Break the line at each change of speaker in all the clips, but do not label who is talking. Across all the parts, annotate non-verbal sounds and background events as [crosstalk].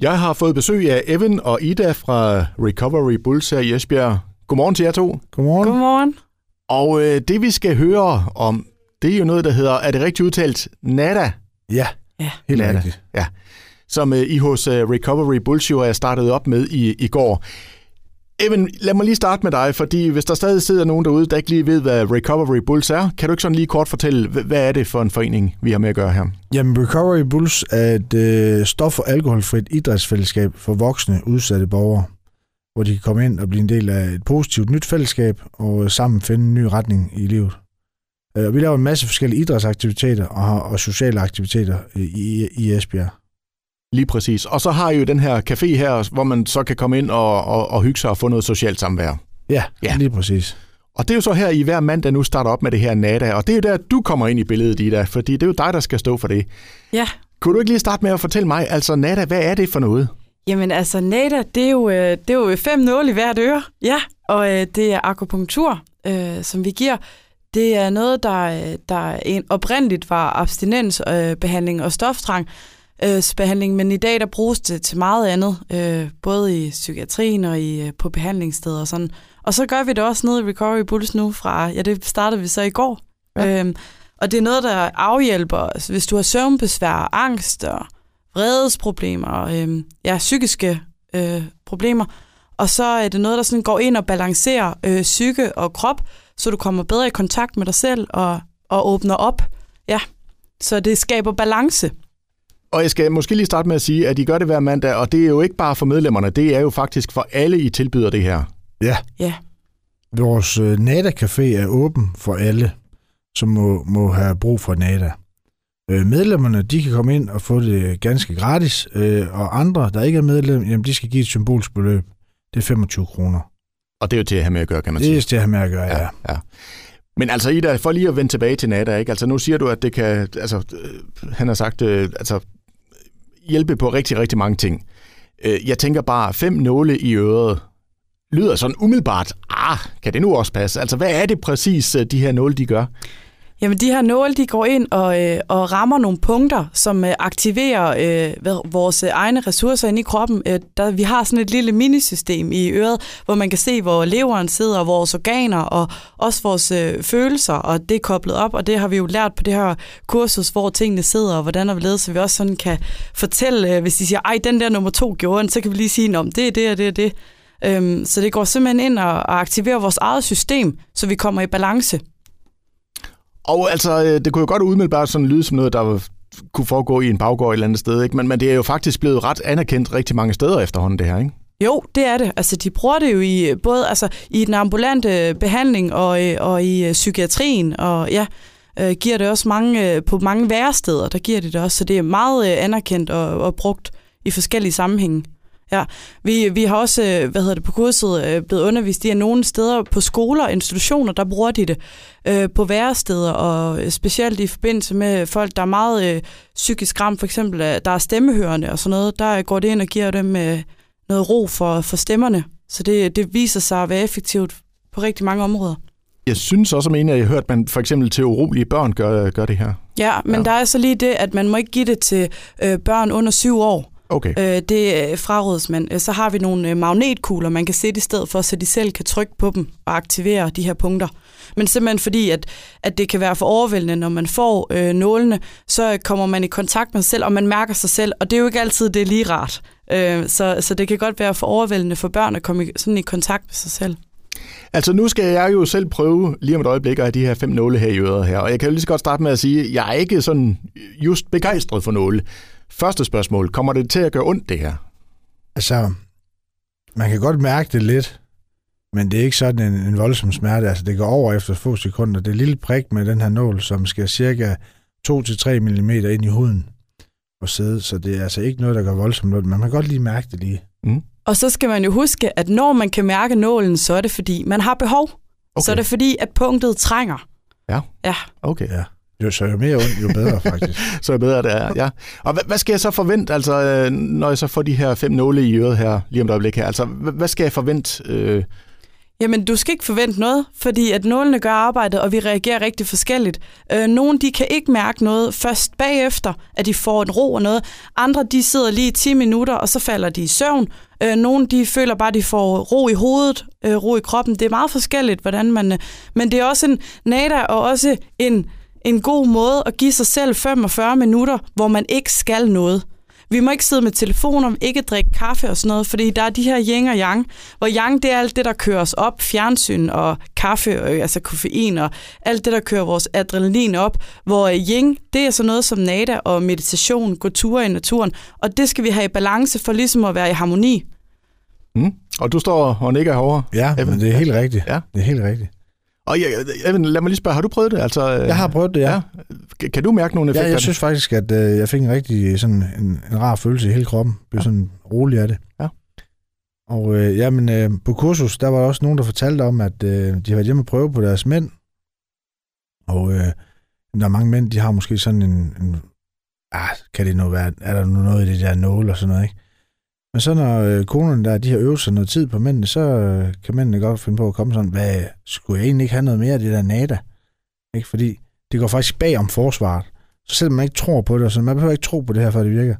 Jeg har fået besøg af Evan og Ida fra Recovery Bulls her i Esbjerg. Godmorgen til jer to.
Godmorgen.
Godmorgen.
Og øh, det vi skal høre om, det er jo noget, der hedder, er det rigtigt udtalt, NADA,
Ja,
Ja.
helt
Nada.
rigtigt.
som øh, I hos øh, Recovery Bulls jo er startet op med i, i går. Evan, lad mig lige starte med dig, fordi hvis der stadig sidder nogen derude, der ikke lige ved, hvad Recovery Bulls er, kan du ikke sådan lige kort fortælle, hva- hvad er det for en forening, vi har med at gøre her?
Jamen, Recovery Bulls er et øh, stof- og alkoholfrit idrætsfællesskab for voksne udsatte borgere, hvor de kan komme ind og blive en del af et positivt nyt fællesskab og øh, sammen finde en ny retning i livet. Øh, og vi laver en masse forskellige idrætsaktiviteter og, har- og sociale aktiviteter øh, i, i Esbjerg.
Lige præcis. Og så har I jo den her café her, hvor man så kan komme ind og, og, og hygge sig og få noget socialt samvær.
Ja,
Ja.
ja. lige præcis.
Og det er jo så her, I hver mandag nu starter op med det her NADA, og det er jo der, du kommer ind i billedet, Ida, fordi det er jo dig, der skal stå for det.
Ja.
Kunne du ikke lige starte med at fortælle mig, altså NADA, hvad er det for noget?
Jamen altså, NADA, det er jo, øh, det er jo fem nåle i hvert øre. Ja, og øh, det er akupunktur, øh, som vi giver. Det er noget, der, øh, der en, oprindeligt var abstinensbehandling øh, behandling og stoftrangsbehandling, men i dag der bruges det til meget andet, øh, både i psykiatrien og i, øh, på behandlingssteder og sådan. Og så gør vi det også nede i Recovery Bulls nu fra, ja det startede vi så i går. Ja. Øhm, og det er noget, der afhjælper, altså, hvis du har søvnbesvær, angst og vredesproblemer, øh, ja, psykiske øh, problemer. Og så er det noget, der sådan går ind og balancerer øh, psyke og krop, så du kommer bedre i kontakt med dig selv og, og åbner op. Ja, så det skaber balance.
Og jeg skal måske lige starte med at sige, at I gør det hver mandag, og det er jo ikke bare for medlemmerne, det er jo faktisk for alle, I tilbyder det her.
Ja,
Vores øh, NADA-café er åben for alle, som må, må have brug for NADA. Øh, medlemmerne de kan komme ind og få det ganske gratis, øh, og andre, der ikke er medlem, jamen, de skal give et symbolsk beløb. Det er 25 kroner.
Og det er jo til at have med at gøre, kan man
Det
sige.
er det, jeg har med at gøre, ja.
ja. Men altså Ida, for lige at vende tilbage til NADA, ikke? Altså, nu siger du, at det kan, altså, øh, han har sagt, øh, altså, hjælpe på rigtig, rigtig mange ting. Øh, jeg tænker bare, fem nåle i øret lyder sådan umiddelbart, ah, kan det nu også passe? Altså, hvad er det præcis, øh, de her nåle, de gør?
Jamen, de her nåle, de går ind og, øh, og rammer nogle punkter, som øh, aktiverer øh, hvad- vores øh, egne ressourcer inde i kroppen. Øh, der, vi har sådan et lille minisystem i øret, hvor man kan se, hvor leveren sidder, vores organer og også vores øh, følelser, og det er koblet op, og det har vi jo lært på det her kursus, hvor tingene sidder, og hvordan og hvorledes, så vi også sådan kan fortælle, øh, hvis de siger, ej, den der nummer to gjorde den, så kan vi lige sige, om det er det og det og det. Øhm, så det går simpelthen ind og, og aktiverer vores eget system, så vi kommer i balance.
Og altså, øh, det kunne jo godt umiddelbart sådan lyde som noget, der kunne foregå i en baggård et eller andet sted, ikke? Men, men det er jo faktisk blevet ret anerkendt rigtig mange steder efterhånden, det her, ikke?
Jo, det er det. Altså, de bruger det jo i øh, både altså, i den ambulante øh, behandling og, øh, og i øh, psykiatrien, og ja, øh, giver det også mange, øh, på mange væresteder, der giver de det også, så det er meget øh, anerkendt og, og brugt i forskellige sammenhænge. Ja, vi, vi har også, øh, hvad hedder det, på kurset øh, blevet undervist i, at nogle steder på skoler og institutioner, der bruger de det øh, på væresteder, og øh, specielt i forbindelse med folk, der er meget øh, psykisk ramt, for eksempel, øh, der er stemmehørende og sådan noget, der øh, går det ind og giver dem øh, noget ro for, for stemmerne. Så det, det viser sig at være effektivt på rigtig mange områder.
Jeg synes også, at jeg har hørt, at man for eksempel til urolige børn gør, gør det her.
Ja, men
Ja.
ja. der er så lige det, at man må ikke give det til øh, børn under syv år.
Okay.
Øh, det øh, frarådes man. Øh, Så har vi nogle øh, magnetkugler, man kan sætte i stedet for, så de selv kan trykke på dem og aktivere de her punkter. Men simpelthen fordi, at, at det kan være for overvældende, når man får øh, nålene, så øh, kommer man i kontakt med sig selv, og man mærker sig selv, og det er jo ikke altid det er lige rart. Øh, så, så det kan godt være for overvældende for børn at komme i, sådan i kontakt med sig selv.
Altså nu skal jeg jo selv prøve lige om et øjeblik at have de her fem nåle her i øret her, og jeg kan jo lige så godt starte med at sige, at jeg er ikke sådan just begejstret for nåle. Første spørgsmål, kommer det til at gøre ondt det her?
Altså, man kan godt mærke det lidt, men det er ikke sådan en, en voldsom smerte. Altså, det går over efter få sekunder. Det er et lille prik med den her nål, som skal cirka 2-3 mm ind i huden og sidde, så det er altså ikke noget, der gør voldsomt ondt, men man kan godt lige mærke det lige.
Og så skal man jo huske, at når man kan mærke nålen, så er det fordi, man har behov. Okay. Så er det fordi, at punktet trænger.
Ja.
Ja.
Okay,
Ja. Jo, så jo mere ondt, jo bedre faktisk.
så er det bedre det er, ja. Og hvad, hvad skal jeg så forvente, altså, øh, når jeg så får de her fem nåle i øret her lige om et øjeblik her? Altså, hvad, hvad skal jeg forvente? Øh,
Jamen, du skal ikke forvente noget, fordi at nålene gør arbejdet, og vi reagerer rigtig forskelligt. Øh, nogle, de kan ikke mærke noget først bagefter, at de får en ro og noget. Andre, de sidder lige 10 minutter, og så falder de i søvn. Øh, nogle, de føler bare, at de får ro i hovedet, øh, ro i kroppen. Det er meget forskelligt, hvordan man... Øh, men det er også en nada, og også en, en god måde at give sig selv 45 minutter, hvor man ikke skal noget. Vi må ikke sidde med telefoner, ikke drikke kaffe og sådan noget, fordi der er de her yin og yang, hvor yang det er alt det, der kører os op, fjernsyn og kaffe, og, altså koffein og alt det, der kører vores adrenalin op, hvor øh, yin, det er sådan noget som nada og meditation, gå ture i naturen, og det skal vi have i balance for ligesom at være i harmoni.
Mm. Og du står og nikker herovre.
Ja, men det er helt rigtigt.
Ja.
Det er helt rigtigt.
Og jeg, Evan, lad mig lige spørge, har du prøvet det? Altså,
Jeg har prøvet det, ja.
ja. Kan- Kan du mærke nogle effekter?
Ja,
af
jeg
det?
synes faktisk, at øh, jeg fik en rigtig sådan en, en rar følelse i hele kroppen. Blev
Ja.
sådan rolig af det.
Ja.
Og øh, jamen, øh, på kursus, der var der også nogen, der fortalte om, at øh, de har været hjemme og prøve på deres mænd. Og øh, der er mange mænd, de har måske sådan en... en ah, kan det nu være... Er der nu noget i det der nåle og sådan noget, ikke? Men så når øh, konerne der, de har øvet sig noget tid på mændene, så øh, kan mændene godt finde på at komme sådan, hvad, skulle jeg egentlig ikke have noget mere af det der nada? Ikke? Fordi det går faktisk bag om forsvaret. Så selvom man ikke tror på det, så man behøver ikke tro på det her, før det virker.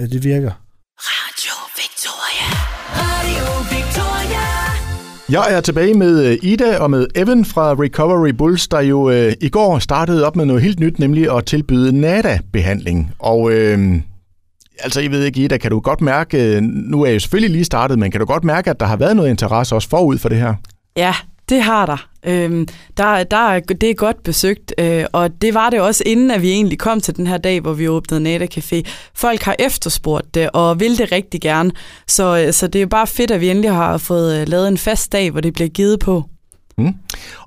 Øh, Det virker.
Radio Victoria. Radio Victoria.
Jeg er tilbage med øh, Ida og med Evan fra Recovery Bulls, der jo øh, i går startede op med noget helt nyt, nemlig at tilbyde NADA-behandling. Og øh, altså, jeg ved ikke, Ida, kan du godt mærke, øh, nu er jeg jo selvfølgelig lige startet, men kan du godt mærke, at der har været noget interesse også forud for det her?
Ja, det har der. Øhm, der, der. er- Det er godt besøgt, øh, og det var det også inden, at vi egentlig kom til den her dag, hvor vi åbnede Nada Café. Folk har efterspurgt det, og vil det rigtig gerne. Så, øh, så det er bare fedt, at vi endelig har fået øh, lavet en fast dag, hvor det bliver givet på.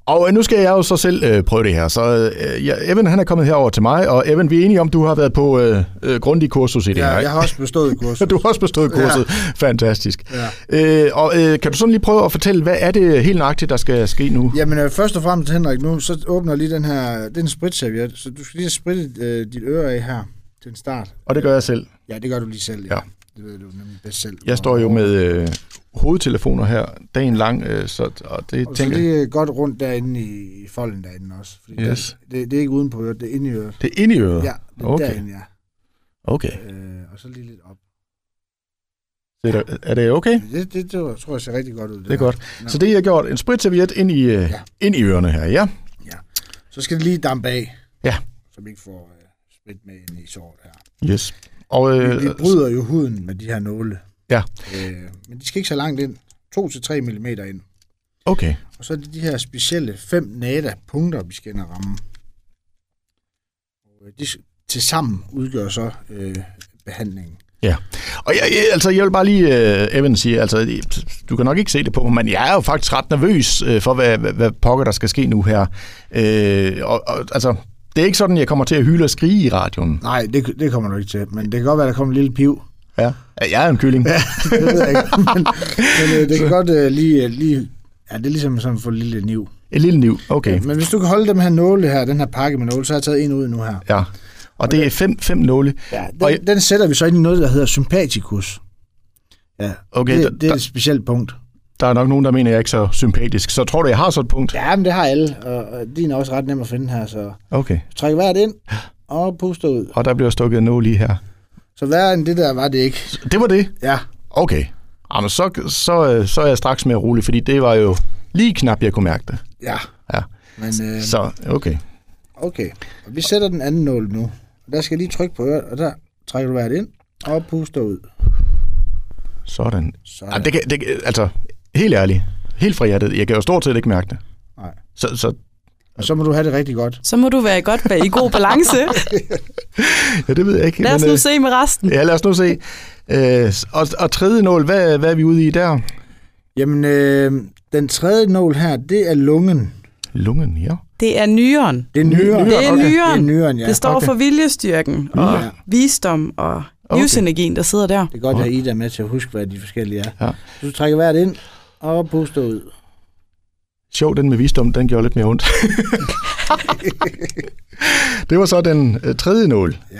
Og øh, nu skal jeg jo så selv øh, prøve det her. Så øh, ja, Evan, han er kommet herover til mig, og Evan, vi er enige om, du har været på øh, øh, grundig kursus i det her, ikke?
har også bestået [laughs]
[laughs]
kurset.
Du har også bestået kurset. Ja. Fantastisk.
Ja.
Øh, og øh, kan du sådan lige prøve at fortælle, hvad er det helt nøjagtigt, der skal ske nu?
Jamen øh, først og fremmest, Henrik, nu så åbner jeg lige den her, det er en spritserviet, så du skal lige spritte øh, dit øre af her til en start.
Og det gør jeg selv.
Ja, det gør du lige selv.
Ja.
Det ved du nemlig bedst selv.
Jeg står jo med øh, hovedtelefoner her dagen lang, øh, så, og det
Og så
tænker jeg,
lige øh, godt rundt derinde i, i folden derinde også. Fordi
Yes.
det, det, det, er ikke uden på øret, det er inde i øret.
det er inde i øret.
Ja, det er
Okay.
derinde, ja.
Okay.
Øh, og så lige lidt op.
Så er det- er det okay?
Det, det, det, tror jeg ser rigtig godt ud.
Det er
der.
godt.
Nå.
Så det, jeg har gjort, en spritserviet ind i, øh,
Ja.
ind i ørerne her, ja?
Så skal det lige dampe af.
Ja.
Så vi ikke får øh, sprit med ind i såret her.
Yes. Og,
Øh, vi
øh,
bryder jo huden med de her nåle.
Ja.
Øh, men de skal ikke så langt ind. 2-3 mm ind.
okay.
Og så er det de her specielle fem NADA-punkter, vi skal ind og ramme. Og øh, de s- tilsammen udgør så øh, behandlingen.
Ja, og jeg, jeg, altså, jeg vil bare lige, øh, Evan, sige, altså, du kan nok ikke se det på mig, men jeg er jo faktisk ret nervøs øh, for, hvad, hvad, hvad pokker der skal ske nu her. Øh, og, og, altså, det er ikke sådan, jeg kommer til at hyle og skrige i radioen.
Nej, det, det kommer du ikke til, men det kan godt være, der kommer en lille piv.
Ja. Jeg er en
[laughs]
kylling. Ja.
Det ved jeg ikke, [laughs] men, men øh, det kan godt øh, lige, lige... Ja, det er ligesom sådan at få en lille niv.
Et lille liv, okay.
Men hvis du kan holde dem her nåle her, den her pakke med nåle, så har jeg taget en ud nu her.
Ja. Og det er fem, fem nåle.
Ja, den,
Og jeg-
den sætter vi så ind i noget, der hedder sympaticus. Ja,
Okay,
det,
der-
det er et specielt punkt.
Der er nok nogen, der mener, jeg er ikke så sympatisk. Så tror du, jeg har så et punkt?
Ja, men det har alle, og, og din er også ret nem at finde her, så
Okay.
træk hvert ind og puster ud.
Og der bliver stukket en nål i her.
Så værre end det der var det ikke.
Det var det.
Ja,
Okay. Jamen, så, så, øh, så er jeg straks mere rolig, fordi det var jo lige knap, jeg kunne mærke det.
ja.
Ja.
Men øh,
Så, okay.
okay, og vi sætter den anden nål nu. Der skal jeg lige trykke på øret, og der trækker du hvert ind og puster ud.
Sådan.
Så,
Jamen, det kan, det, kan- altså, helt ærligt, helt fra hjertet, jeg kan jo stort set ikke mærke det.
Nej.
Så, så
Og så må du have det rigtig godt.
Så må du være i godt i god
[laughs]
balance.
ja, det ved jeg ikke.
Lad os
men,
nu se med resten.
øh, Ja, lad os nu se. Øh, og, og tredje nål, hvad, hvad er vi ude i der?
Jamen, øh, den tredje nål her, det er lungen.
Lungen, ja.
Det er nyeren.
Det er nyren.
Det er
Det er
nyeren.
nyren, ja.
Det står for viljestyrken og
Ja.
visdom og livsenergien, der sidder der.
Det er godt, at I er med til at huske, hvad de forskellige er.
Ja.
Så Du trækker hvert ind og puster ud.
Sjov, den med visdom, den gjorde lidt mere
[laughs]
ondt. det var så den øh, tredje nål.
Ja.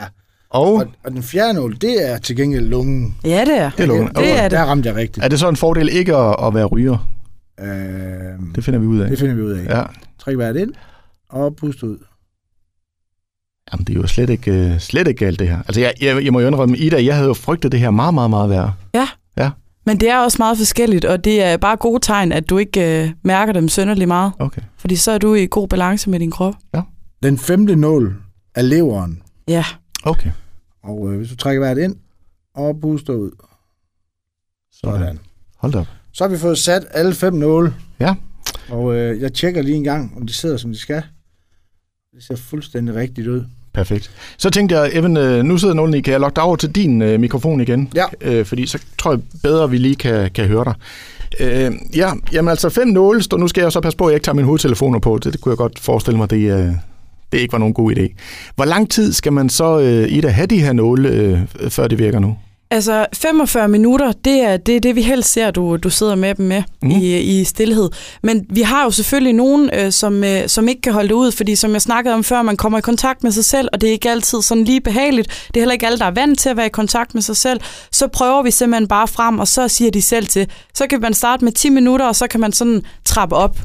Og
Og, og den fjerde nål, det er til gengæld lungen.
Ja, det er.
det er lungen.
Det er det.
Der ramte jeg rigtigt.
Er det så en fordel ikke at, at være ryger?
Øh,
Det finder vi ud af.
det finder vi ud af. Ja.
Ja.
Træk vejret ind, og pust ud.
Jamen, det er jo slet ikke, øh, slet ikke galt, det her. Altså, jeg, jeg, jeg må jo indrømme, Ida, jeg havde jo frygtet det her meget, meget, meget værre.
Men det er også meget forskelligt, og det er bare gode tegn, at du ikke øh, mærker dem sønderlig meget,
Okay.
fordi så er du i god balance med din krop.
Den femte nål er leveren,
Ja,
Okay.
og øh, hvis du trækker vejret ind, og puster ud. Sådan.
Hold da op.
Så har vi fået sat alle fem nåle.
Ja.
Og øh, jeg tjekker lige en gang, om de sidder, som de skal. Det ser fuldstændig rigtigt ud.
Perfekt. Så tænkte jeg, Evan, øh, nu sidder nålen i, kan jeg logge dig over til din øh, mikrofon igen?
Ja.
Øh, fordi så tror jeg bedre, vi lige kan, kan høre dig. Øh, ja, jamen altså fem nåle, står- nu skal jeg så passe på, at jeg ikke tager mine hovedtelefoner på. Det, det kunne jeg godt forestille mig, det, øh, det ikke var nogen god idé. Hvor lang tid skal man så, øh, Ida, have de her nåle, øh, før det virker nu?
altså 45 minutter, det er det, er det vi helst ser, du, du sidder med dem med
Mm.
mm. i, i stillhed. Men vi har jo selvfølgelig nogen, øh, som, øh, som ikke kan holde det ud, fordi som jeg snakkede om før, man kommer i kontakt med sig selv, og det er ikke altid sådan lige behageligt. Det er heller ikke alle, der er vant til at være i kontakt med sig selv. Så prøver vi simpelthen bare frem, og så siger de selv til. Så kan man starte med 10 minutter, og så kan man sådan trappe op.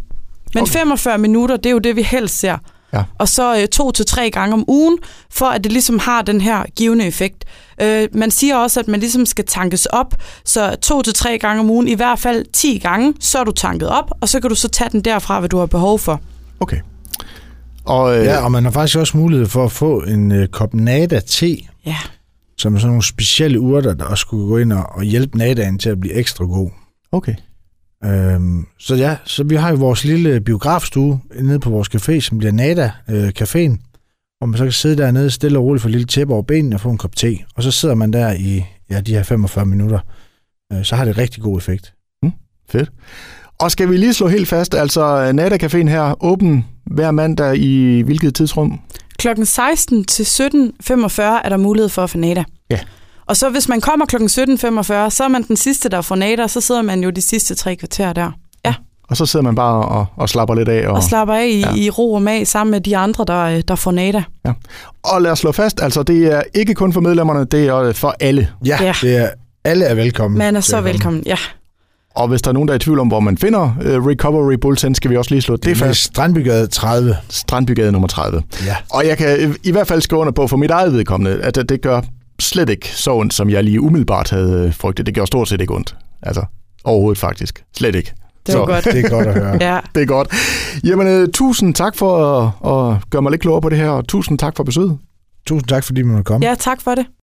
Okay.
Men okay. 45 minutter, det er jo det, vi helst ser.
Ja.
Og så øh, to til tre gange om ugen, for at det ligesom har den her givende effekt. Øh, man siger også, at man ligesom skal tankes op, så to til tre gange om ugen, i hvert fald 10 gange, så er du tanket op, og så kan du så tage den derfra, hvad du har behov for.
Okay. Og, øh,
Ja, og man har faktisk også mulighed for at få en øh, kop Nada-te,
Ja.
som er sådan nogle specielle urter, der også skulle gå ind og, og hjælpe Nadaen til at blive ekstra god.
okay.
Øhm, så ja, så vi har jo vores lille biografstue nede på vores café, som bliver Nada-caféen, hvor man så kan sidde dernede stille og roligt for et lille tæppe over benene og få en kop te. Og så sidder man der i ja, de her 45 minutter. Øh, så har det rigtig god effekt.
Fedt. Og skal vi lige slå helt fast, altså Nata-caféen her, åben hver mandag i hvilket tidsrum?
Klokken 16 til 17.45 er der mulighed for at få natter.
Ja.
Og så hvis man kommer klokken 17.45, så er man den sidste, der får natter, så sidder man jo de sidste tre kvarter der.
Og så sidder man bare og, og slapper lidt af. Og,
Og slapper af i,
Ja.
ja. i ro og mag sammen med de andre, der, øh, der får natter.
og lad os slå fast, altså det er ikke kun for medlemmerne, det er øh, for alle.
Ja,
Ja.
Det er, alle er
Mm,
velkommen.
Man er
til
så
at komme.
velkommen, ja.
Og hvis der er nogen, der er i tvivl om, hvor man finder øh, Recovery Bulletin, skal vi også lige slå det,
Det er
fast.
faktisk Strandbygade 30.
Strandbygade nummer 30.
Ja.
Og jeg kan i- i hvert fald skrive under på for mit eget vedkommende, at det, det gør slet ikke så ondt, som jeg lige umiddelbart havde øh, frygtet. Det gør stort set ikke ondt. Altså, overhovedet faktisk. Slet ikke.
Det var
Så. [laughs]
godt.
Det er godt at høre.
Ja.
Det er godt. Jamen, øh, tusind tak for at, at gøre mig lidt klogere på det her, og tusind tak for besøget.
Tusind tak, fordi man kom.
ja, tak for det.